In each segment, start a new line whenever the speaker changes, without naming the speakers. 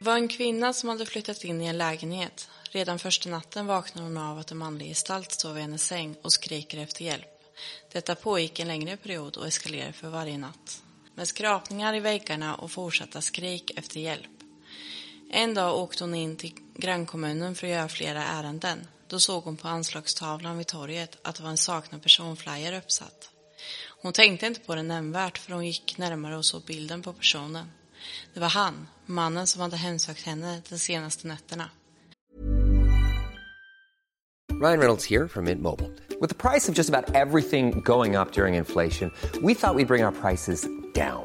var en kvinna som hade flyttat in i en lägenhet. Redan första natten vaknar hon av att en manlig gestalt står vid hennes säng och skriker efter hjälp. Detta pågick en längre period och eskalerade för varje natt. Med skrapningar i väggarna och fortsatta skrik efter hjälp. En dag åkte hon in till grannkommunen för att göra flera ärenden. Då såg hon på anslagstavlan vid torget att det var en saknad personflyer uppsatt. Hon tänkte inte på det nämnvärt för hon gick närmare och såg bilden på personen. Det var han, mannen som hade hemsökt henne de senaste nätterna.
Ryan Reynolds here from Mint Mobile. With the price of just about everything going up during inflation, we thought we'd bring our prices down.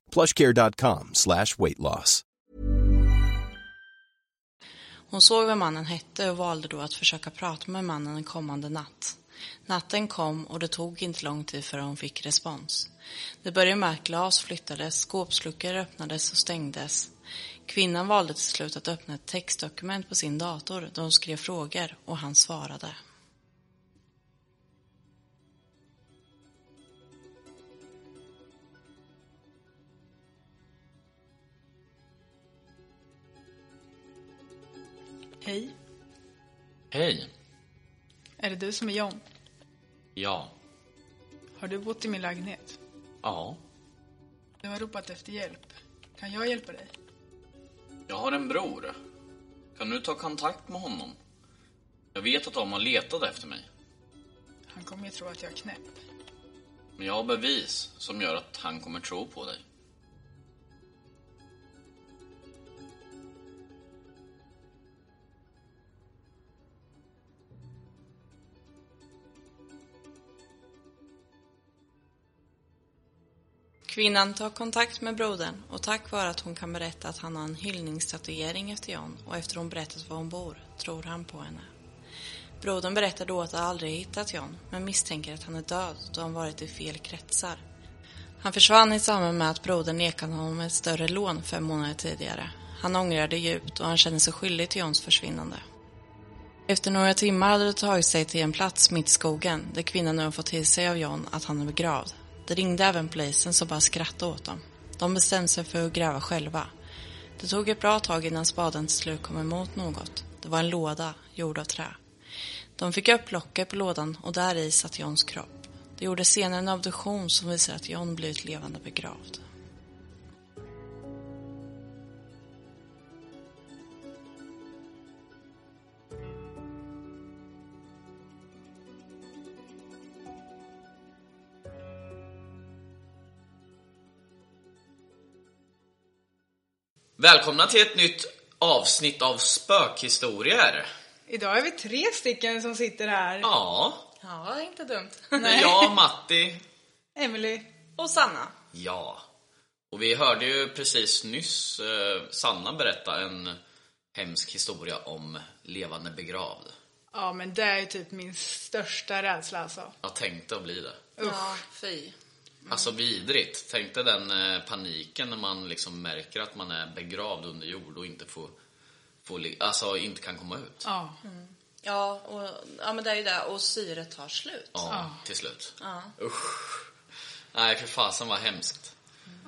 plushcare.com slash weight loss.
Hon såg vad mannen hette och valde då att försöka prata med mannen en kommande natt. Natten kom och det tog inte lång tid förrän hon fick respons. Det började med att glas flyttades, skåpsluckor öppnades och stängdes. Kvinnan valde till slut att öppna ett textdokument på sin dator där hon skrev frågor och han svarade. Hej,
Hej.
Är det du som är John?
Ja.
Har du bott i min lägenhet?
Ja.
Du har ropat efter hjälp. Kan jag hjälpa dig?
Jag har en bror. Kan du ta kontakt med honom? Jag vet att de har letat efter mig.
Han kommer ju tro att jag är knäpp.
Men jag har bevis som gör att han kommer tro på dig.
Kvinnan tar kontakt med brodern och tack vare att hon kan berätta att han har en hyllningstatuering efter John och efter hon berättat var hon bor tror han på henne. Brodern berättar då att han aldrig hittat John men misstänker att han är död då han varit i fel kretsar. Han försvann i samband med att brodern nekade honom ett större lån fem månader tidigare. Han ångrade djupt och han känner sig skyldig till Johns försvinnande. Efter några timmar hade det tagit sig till en plats mitt i skogen där kvinnan nu har fått till sig av John att han är begravd. Det ringde även polisen som bara skrattade åt dem. De bestämde sig för att gräva själva. Det tog ett bra tag innan spaden till slut kom emot något. Det var en låda gjord av trä. De fick upp locket på lådan och där i satt Johns kropp. Det gjorde senare en obduktion som visar att John blivit levande begravd.
Välkomna till ett nytt avsnitt av Spökhistorier.
Idag är vi tre stycken som sitter här.
Ja.
Ja, inte dumt.
Det är jag, Matti.
Emily.
Och Sanna.
Ja. Och vi hörde ju precis nyss eh, Sanna berätta en hemsk historia om levande begravd.
Ja, men det är ju typ min största rädsla alltså.
Jag tänkte att bli det.
Ja, fy.
Alltså vidrigt. Tänk dig den eh, paniken när man liksom märker att man är begravd under jord och inte får, får li- alltså inte kan komma ut. Ja,
Ja.
Ja, och, ja men det är ju det. Och syret tar slut.
till slut. Usch. Nej, för fasen var hemskt.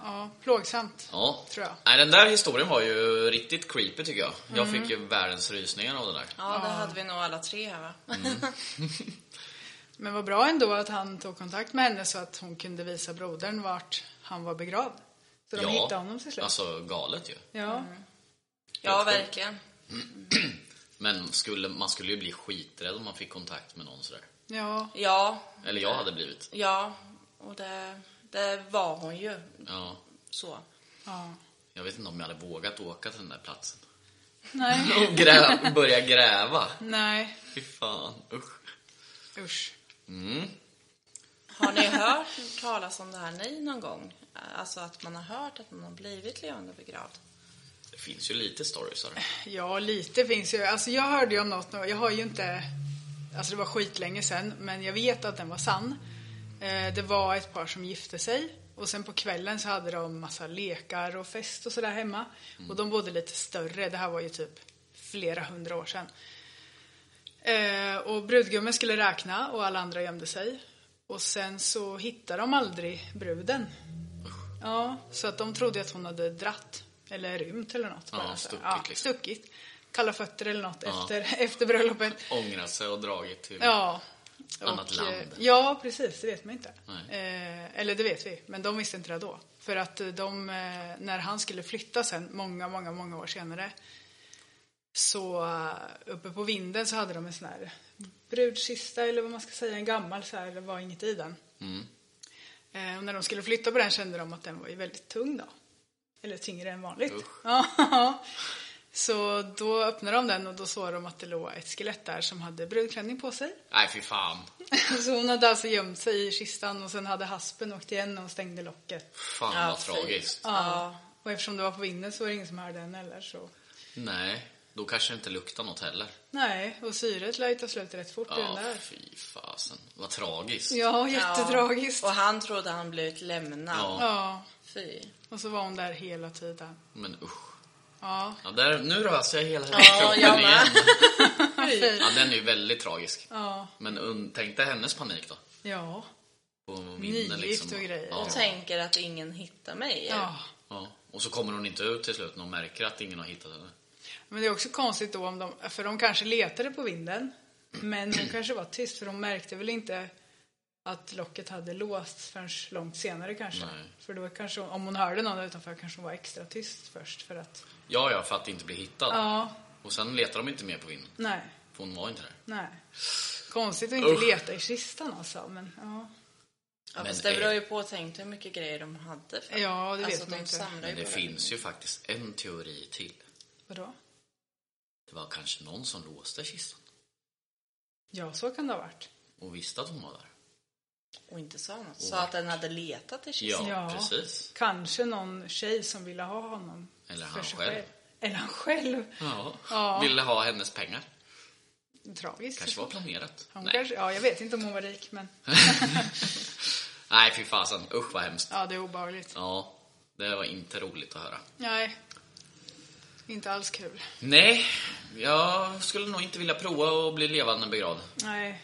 Ja, plågsamt.
Ja.
Tror jag. Mm.
Nej, den där historien var ju riktigt creepy tycker jag. Jag fick ju världens rysningar av den där.
Ja, det hade vi nog alla tre här va?
Mm.
Men vad bra ändå att han tog kontakt med henne så att hon kunde visa brodern vart han var begravd. Så de hittade honom till slut.
Alltså galet ju.
Ja.
Ja, verkligen.
Men skulle, man skulle ju bli skiträdd om man fick kontakt med någon sådär.
ja.
Ja,
Eller jag hade blivit.
ja. Och det, det var hon ju.
Ja.
Så.
Ja.
Jag vet inte om jag hade vågat åka till den där platsen.
Nej.
Och grä, börja gräva.
Nej.
Fy fan, usch. Mm.
Usch.
Har ni hört talas om det här ni någon gång? Alltså att man har hört att man har blivit levande begravd.
Det finns ju lite stories här.
Ja, lite finns ju. Alltså jag hörde ju om något, jag har ju inte, alltså det var skitlänge sedan, men jag vet att den var sann. Eh, Det var ett par som gifte sig och sen på kvällen så hade de massa lekar och fest och sådär hemma.
Mm.
Och de bodde lite större, det här var ju typ flera hundra år sedan. Eh, Och brudgummen skulle räkna och alla andra gömde sig. Och sen så hittade de aldrig bruden. Ja, så att de trodde att hon hade dratt. Eller rymt eller något.
Ja,
bara så här.
stuckit
ja,
liksom.
stuckit. Kalla fötter eller något efter, efter bröllopet.
Ångrat sig och dragit till...
Ja.
Annat
eh,
land.
Ja, precis. Det vet man inte.
Nej.
Eh, eller det vet vi, men de visste inte det då. För att eh, de, eh, när han skulle flytta sen, många, många, många år senare, så eh, uppe på vinden så hade de en sån här brudkista, eller vad man ska säga, en gammal så här, det var inget i den.
Mm.
Eh, och när de skulle flytta på den kände de att den var ju väldigt tung då. Eller tyngre än vanligt. Ja. så då öppnade de den och då såg de att det låg ett skelett där som hade brudklänning på sig.
Nej, fy fan.
Så hon hade alltså gömt sig i kistan och sen hade haspen åkt igen och stängde locket.
Fan vad
fy.
tragiskt.
Ja. Och eftersom det var på vinden så var det ingen som hörde henne heller så.
Nej, då kanske det inte luktar något heller.
Nej, och syret lär ju ta slut rätt fort i den
Ja,
där.
fy fasen. Vad tragiskt.
Ja, jättetragiskt.
Och
Ja.
han trodde han blivit lämnad.
Ja,
Fy.
Och så var hon där hela tiden.
men usch.
Ja.
Ja, där, nu rös jag hela
Ja, jag
kroppen igen.
med. Fy.
Ja, den är ju väldigt tragisk.
Ja.
Men un, tänk dig hennes panik då.
Ja.
På vinden
Nygift
liksom.
och grejer.
Ja.
Och tänker att ingen hittar mig.
Ja.
Ja. Och så kommer hon inte ut till slut när hon märker att ingen har hittat henne.
Men det är också konstigt då om de, för de kanske letade på vinden. Men hon kanske var tyst för hon märkte väl inte att locket hade låsts förrän långt senare kanske.
Nej.
För då kanske, hon- om hon hörde någon utanför kanske hon var extra tyst först för att,
Ja, ja, för att inte bli hittad.
ja,
Och sen letar de inte mer på vinden.
nej,
För hon var inte där.
nej. Konstigt att inte
Usch.
leta i kistan alltså, men ja.
Ja,
Men
fast det
är-
beror ju på, tänk dig hur mycket grejer de hade. För.
Ja, det
alltså,
vet
de
man inte.
samlar ju
Men det
på
finns ju faktiskt en teori till.
Vadå?
Det var kanske någon som låste kistan
Ja, så kan det ha varit.
och visste att hon var där.
Och inte sa något. Sa att den hade letat i kistan.
Ja,
Ja.
precis.
Kanske någon tjej som ville ha honom.
Eller
för
han
sig
själv.
Eller han själv.
Ja.
Ja.
Ville ha hennes pengar.
Tragiskt.
Kanske var planerat.
Hon
Nej.
kanske, ja, jag vet inte om hon var rik, men
Nej, fy fasen. Usch vad hemskt.
ja, det är obehagligt.
Ja, det var inte roligt att höra.
Nej. Inte alls kul.
Nej, jag skulle nog inte vilja prova att bli levande begravd.
Nej.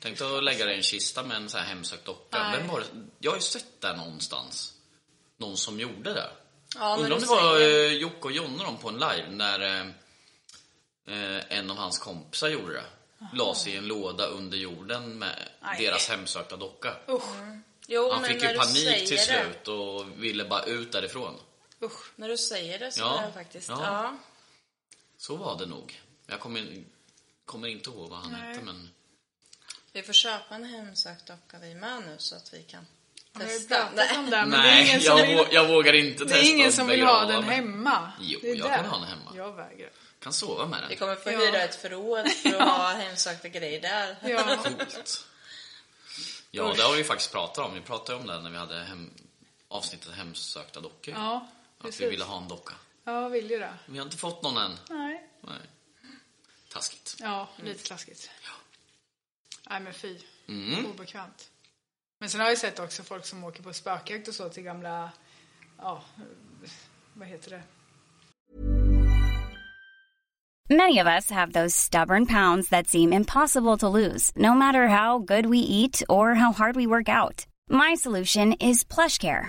Tänk dig att lägga dig i en kista med en så här hemsökt docka.
Nej.
Vem var det? Jag har ju sett det någonstans. Någon som gjorde det.
Ja, när
Undrar om
du
det var
säger-
eh, Jocke och Jonna de på en live när eh, eh, en av hans kompisar gjorde det.
Ah.
La sig i en låda under jorden med
Aj.
deras hemsökta docka.
Usch.
Jo,
Han
men
fick
när
ju
du
panik
säger
till
det-
slut och ville bara ut därifrån.
Usch.
När du säger det så
Ja.
är det faktiskt...
Ja.
Ja.
Så var det nog. Jag kommer, kommer inte ihåg vad han hette men...
Vi får köpa en hemsökt docka vi med nu så att vi kan
Vi har ju
testa.
pratat om det här, men det är
Nej,
ingen som
jag,
vill,
vå- jag vågar inte
det är ingen
att
som vill ha
begrava
den
mig.
hemma.
Jo,
det är
jag
det.
kan ha den hemma. Mm.
Jag vägrar.
Kan sova med den.
Vi kommer få
Ja.
hyra ett förråd för att ha hemsökta grejer där.
Ja.
Coolt. Ja, det har vi faktiskt pratat om. Vi pratade om det när vi hade hem, avsnittet hemsökta dockor.
ja,
att vi
precis.
ville ha en docka.
Ja, vill ju det.
Vi har inte fått någon än.
Nej.
Nej. Taskigt.
Ja,
Mm.
lite taskigt. Nej, men fy.
Mm.
Obekvämt. Men sen har jag sett också folk som åker på spökjakt och så till gamla, ja, vad heter det?
Many of us have those stubborn pounds that seem impossible to lose, no matter how good we eat or how hard we work out. My solution is PlushCare.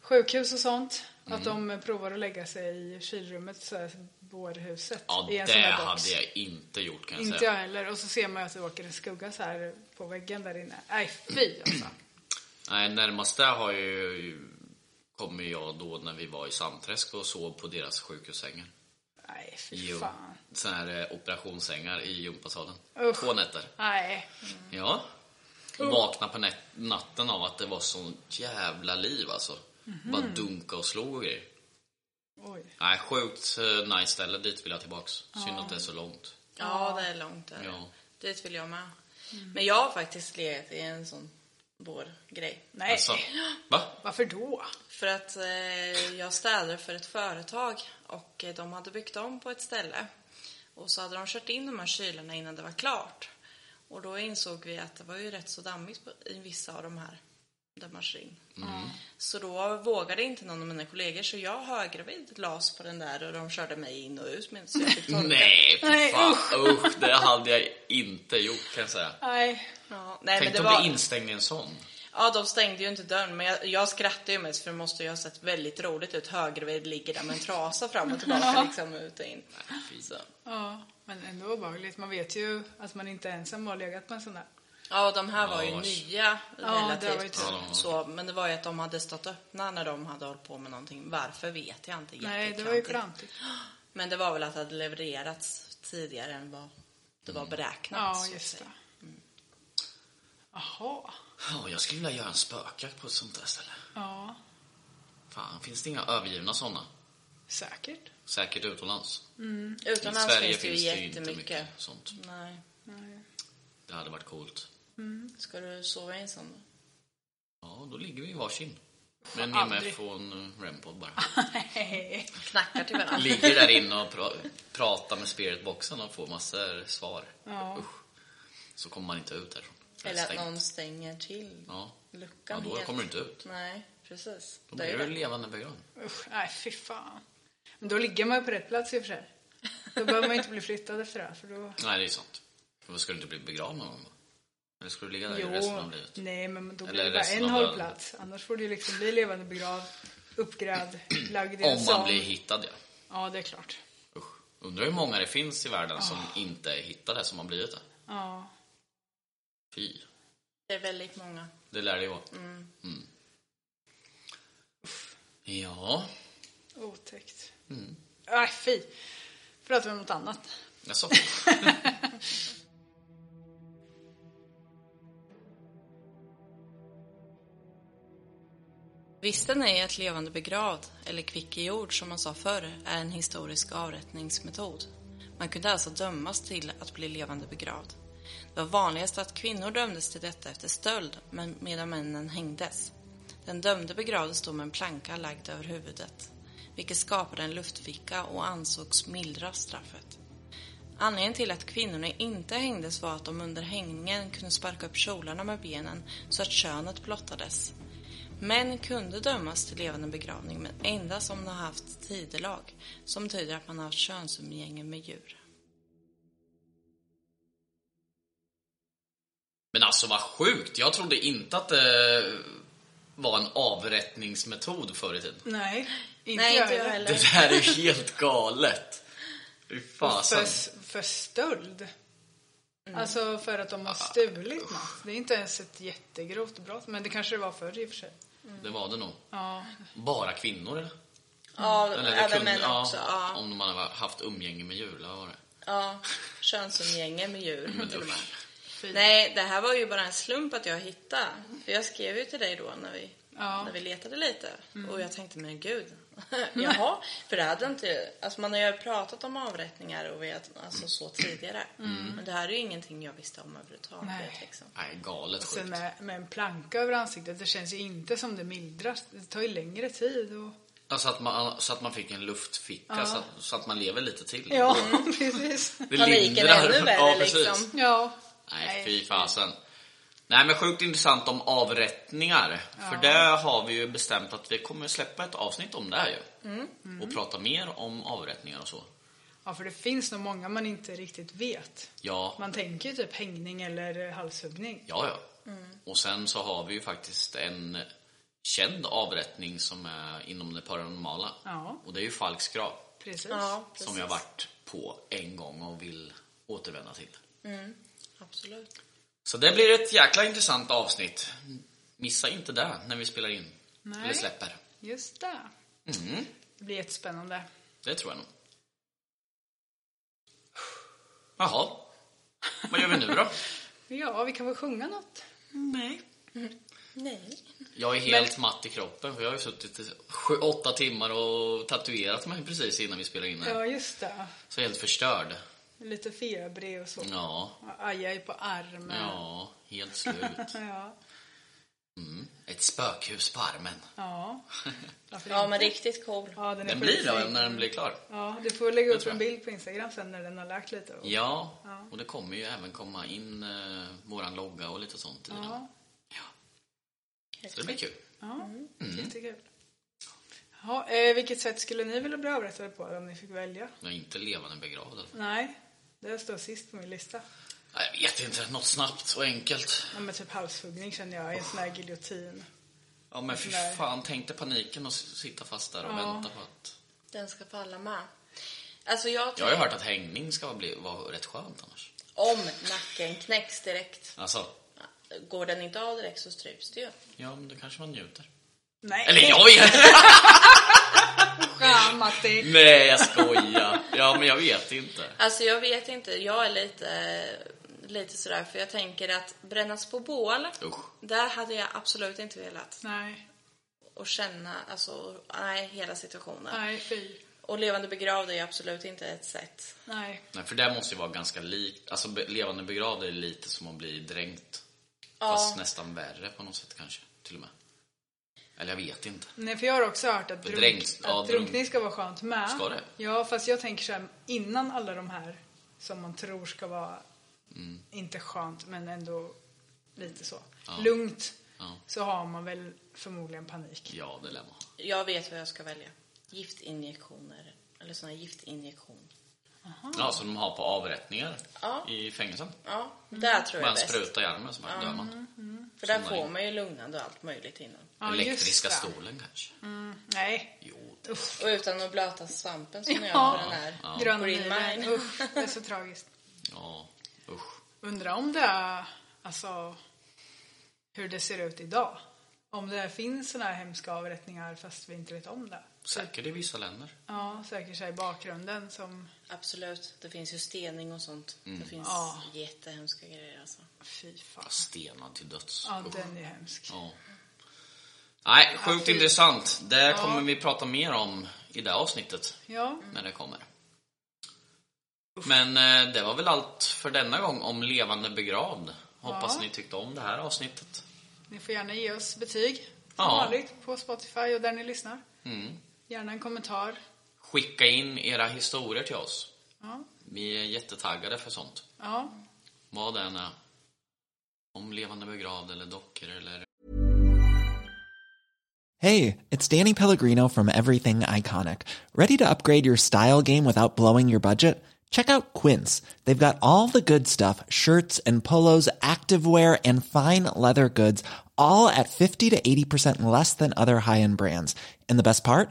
Sjukhus och sånt. Att
Mm.
de provar att lägga sig i kylrummet, så här, bårhuset.
Ja,
i en
det
sån här box.
hade jag inte gjort kan jag
Inte
säga.
jag heller. Och så ser man ju att det åker en skugga så här på väggen där inne. Nej, fy alltså.
Nej, närmast där har ju, kommer jag då när vi var i Sandträsk och sov på deras sjukhussängar.
Nej, fy
I ju-
fan.
sån här eh, operationssängar i gympasalen.
Usch.
Två nätter.
Nej.
Ja. Och vakna på nät- natten av att det var sånt jävla liv alltså.
Mhm.
Bara dunka och slå och grejer.
Oj.
Nej, sjukt eh, nice ställe. Dit vill jag tillbaks. Synd att det är så långt.
Ja, det är långt där.
Ja.
Dit vill jag med.
Mm.
Men jag har faktiskt legat i en sån vårgrej.
Nej.
Alltså, va?
Varför då?
För att eh, jag städade för ett företag och eh, de hade byggt om på ett ställe. Och så hade de kört in de här kylarna innan det var klart. Och då insåg vi att det var ju rätt så dammigt på, i vissa av de här där man kör in.
Mm.
Så då vågade inte någon av mina kollegor så jag högravid las på den där och de körde mig in och ut medan jag fick torka.
Nej, fy
Nej,
fan.
usch.
Usch, det hade jag inte gjort kan jag säga.
Nej.
Ja, nej men
Tänk
det
om
var...
bli instängd i en sån.
Ja, de stängde ju inte dörren, men jag, jag skrattade ju mest för det måste ju ha sett väldigt roligt ut. Högervid ligger där med en trasa fram och tillbaka liksom ut och in. Så.
Ja, men ändå obehagligt. Man vet ju att man inte är ensam har legat med en sån där.
Ja, de här var ju
Ja, sh-
nya
det var ju typ-
relativt.
tur.
Ja, de var-
så, men det var ju att de hade stått öppna när de hade hållit på med någonting. Varför vet jag inte.
Nej, det
Jätteklantigt.
var ju klantigt.
Men det var väl att det hade levererats tidigare än vad det
Mm.
var beräknat. så
Ja,
att
just
säga.
det. Mm. Jaha.
Ja, jag skulle vilja göra en spökjakt på ett sånt där ställe.
Ja,
Fan, finns det inga övergivna sådana?
säkert.
Säkert utomlands.
Utomlands finns det ju
inte
jättemycket.
mycket sånt.
Nej.
Det hade varit coolt.
Ska du sova i en sån då?
Ja, då ligger vi i varsin. Men
Aldrig.
inne från eh, Rempod bara.
Nej.
Knackar till varandra.
Ligger där inne och pra- pratar med spiritboxen och får massor svar.
Ja.
Usch. Så kommer man inte ut därifrån. Det är
Eller att
stängt.
någon stänger till
Ja.
luckan
Ja, då
helt.
kommer du inte ut.
Nej, precis.
Då
Det är
blir
ju
du
det.
levande begravd.
Usch, nej fy fan. Men då ligger man ju på rätt plats i och för sig. Då behöver man ju inte bli flyttad efter det här, för då...
Nej, det är sant. För vad ska du inte bli begravd någon gång? Eller ska du ligga där i resten
Jo,
av livet?
nej men då
Eller
blir det bara
resten
en
av döden.
hållplats. Annars får du ju liksom bli levande begravd, uppgrävd, lagd i en
Om man
sån.
blir hittad, ja.
Ja, det är klart.
Usch. Undrar hur många det finns i världen som inte är hittade, som har blivit det.
Ja.
Fy.
det är väldigt många.
Det lär det ju vara. Mm. Ja.
Otäckt.
Mm.
Nej, fy. Pratar vi om något annat?
Jaså?
Visste ni att levande begravd, eller kvick i jord som man sa förr, är en historisk avrättningsmetod? Man kunde alltså dömas till att bli levande begravd. Det var vanligast att kvinnor dömdes till detta efter stöld, men medan männen hängdes. Den dömde begravdes då med en planka lagd över huvudet, vilket skapade en luftficka och ansågs mildra straffet. Anledningen till att kvinnorna inte hängdes var att de under hängningen kunde sparka upp kjolarna med benen så att könet blottades. Män kunde dömas till levande begravning men endast om de har haft tidelag som betyder att man har haft könsumgänge med djur.
Men alltså vad sjukt! Jag trodde inte att det var en avrättningsmetod förr i tiden.
Nej, inte
Nej,
jag
inte jag
heller.
heller.
Det där är ju helt galet! Fy
För,
fasen.
för stöld.
Mm.
Alltså för att de har stulit något. Det är inte ens ett jättegrovt brott, men det kanske det var förr i och för sig.
Det var det nog.
Ja,
Bara kvinnor eller?
Ja,
Mm. Eller det
även
kunde-
män
ja,
också. Ja.
Om man har haft umgänge med djur, eller vad var det?
ja. Könsumgänge med djur till och med.
Mm, usch.
Nej, det här var ju bara en slump att jag hittade. För jag skrev ju till dig då när vi,
Ja.
när vi letade lite.
Mm.
Och jag tänkte, men gud. Jaha, för det hade inte... Alltså man har ju pratat om avrättningar och vet, alltså så tidigare. Men det här är ju ingenting jag visste om överhuvudtaget.
Nej.
Liksom.
Mm. Nej, galet
Och sen
sjukt.
med, med en planka över ansiktet, det känns ju inte som det mildras. Det tar ju längre tid och...
Alltså att man, så att man fick en luftficka, så, att, så att man lever lite till.
Ja, precis.
Det
Paniken är
lindrar.
ännu värre
Ja, precis.
liksom.
Ja.
Nej, fy fasen. Nej, men sjukt intressant om avrättningar. För det har vi ju bestämt att vi kommer släppa ett avsnitt om det här ju. Och prata mer om avrättningar och så.
Ja, för det finns nog många man inte riktigt vet.
Ja,
Man tänker ju typ hängning eller halshuggning.
ja, ja. Och sen så har vi ju faktiskt en känd avrättning som är inom det paranormala.
Ja.
Och det är ju Falks grav.
Precis.
Ja, precis.
Som jag varit på en gång och vill återvända till.
Mm. Absolut.
Så det blir ett jäkla intressant avsnitt. Missa inte det när vi spelar in.
Nej.
Eller släpper.
Just det.
Mm.
Det blir jättespännande.
Det tror jag nog. Jaha. Vad gör vi nu då?
Ja, vi kan väl sjunga något?
Nej.
Nej.
Jag är helt matt i kroppen för jag har ju suttit i sju, åtta timmar och tatuerat mig precis innan vi spelade in här.
Ja, just det.
Så jag är helt förstörd.
Lite febrig och så.
Ja.
Ajaj på armen.
Ja, helt slut.
Ja.
Mm. Ett spökhus på armen.
Ja. Varför
Ja,
inte?
men riktigt cool.
Ja, den är
Den blir då
skitfin.
när den blir klar.
Ja, du får lägga upp
tror
en
jag.
bild på Instagram sen när den har läkt lite. Och...
Ja, och det kommer ju även komma in eh, våran logga och lite sånt i den.
Ja,
Så det blir kul.
ja.
Mm.
jättekul. Ja, eh, vilket sätt skulle ni vilja bli avrättade på om ni fick välja?
Jag är inte levande begravd. i alla fall.
Nej, det står sist på min lista.
Nej, Jag vet inte, något snabbt och enkelt.
Ja, men typ halshuggning känner jag, i en sån här giljotin.
Ja men fy
Nej.
fan, tänk dig paniken och s- sitta fast där och vänta på att...
Den ska falla med. Alltså jag
Jag har ju hört att hängning ska bli, vara rätt skönt annars.
om nacken knäcks direkt.
Alltså,
Går den inte av direkt så stryps det ju.
ja men då kanske man njuter.
Nej,
Eller jag vet
Fan, Matti!
Nej jag skojar! Ja men jag vet inte.
Alltså jag vet inte, jag är lite, lite sådär för jag tänker att brännas på bål,
Usch.
där hade jag absolut inte velat.
Nej,
Och känna, alltså, nej, hela situationen.
nej, fy.
Och levande begravd är absolut inte ett sätt.
Nej.
Nej för det måste ju vara ganska likt, alltså be- levande begravd är lite som att bli dränkt.
Ja.
Fast nästan värre på något sätt kanske, till och med. Eller jag vet inte.
Nej, för jag har också hört att, drunk,
Bedrängs-
att
ja, drunk-
drunkning ska vara skönt med.
Ska det?
Ja, fast jag tänker så här, innan alla de här som man tror ska vara,
Mm.
inte skönt, men ändå lite så, lugnt,
Ja.
så har man väl förmodligen panik.
Ja det lär man ha.
Jag vet vad jag ska välja. Giftinjektioner, eller sån här giftinjektion.
Ah.
Ja som de har på avrättningar
Ja.
i fängelsen.
Ja, där tror jag
Man
är bäst.
sprutar i armen så
Mm.
bara dör man.
För där får man ju lugnande och allt möjligt innan.
Ja, just
Elektriska
det. Mm.
stolen kanske.
Nej,
Jo, det
usch.
Och utan att blöta svampen som jag
Ja.
gör med den här.
Ja.
Gröna
Green
milen,
mile.
usch, det är så tragiskt.
Ja, usch.
Undrar om det är, alltså, hur det ser ut idag. Om det finns såna här hemska avrättningar fast vi inte vet om det.
Säkert i vissa länder.
Ja, säkert så här i bakgrunden som,
Absolut. Det finns ju stening och sånt. Det
Mm.
finns
Ja.
jättehemska grejer alltså.
fy fan.
Stenad till döds.
Ja,
Usch.
den är hemsk.
Ja. Nej, sjukt
fy.
intressant. Det kommer vi prata mer om i det avsnittet
Ja,
när det kommer. Men eh, det var väl allt för denna gång om levande begravd. Hoppas ni tyckte om det här avsnittet.
ni får gärna ge oss betyg. Som
Ja. Mm.
vanligt på Spotify och där ni lyssnar. Gärna en kommentar.
Skicka in era historier till oss.
Ja.
Vi är jättetaggade för sånt.
ja.
Vad det än är. Om levande begravd eller dockor eller
Hey, it's Danny Pellegrino from Everything Iconic. Ready to upgrade your style game without blowing your budget? Check out Quince. They've got all the good stuff shirts and polos, activewear, and fine leather goods, all at 50 to 80% less than other high end brands. And the best part?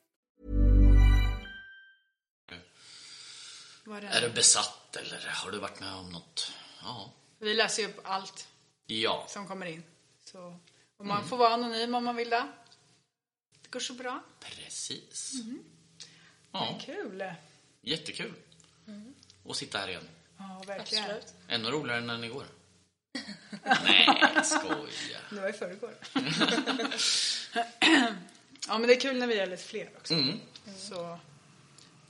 Vad
Är du besatt eller har du varit med om något? Ja.
Vi läser ju upp allt
Ja.
som kommer in. Så, och
Mm.
man får vara anonym om man vill det. Det går så bra.
Precis.
Det
Ja,
är kul.
jättekul. Och sitta här igen.
Ja, verkligen.
Absolut.
Ännu roligare än den igår. Nej, skoja.
Det var i förrgår. ja, men det är kul när vi är lite fler också. Så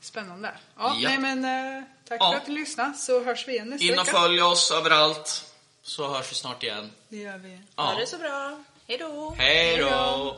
spännande. Ja,
Mm. Ja.
Nej, men, eh, tack
Ja.
för att du lyssnade så hörs vi igen nästa
In och
vecka.
följ oss överallt. Så hörs vi snart igen.
Det gör vi.
Ha
Ja.
det så bra. Hej då.
Hej då!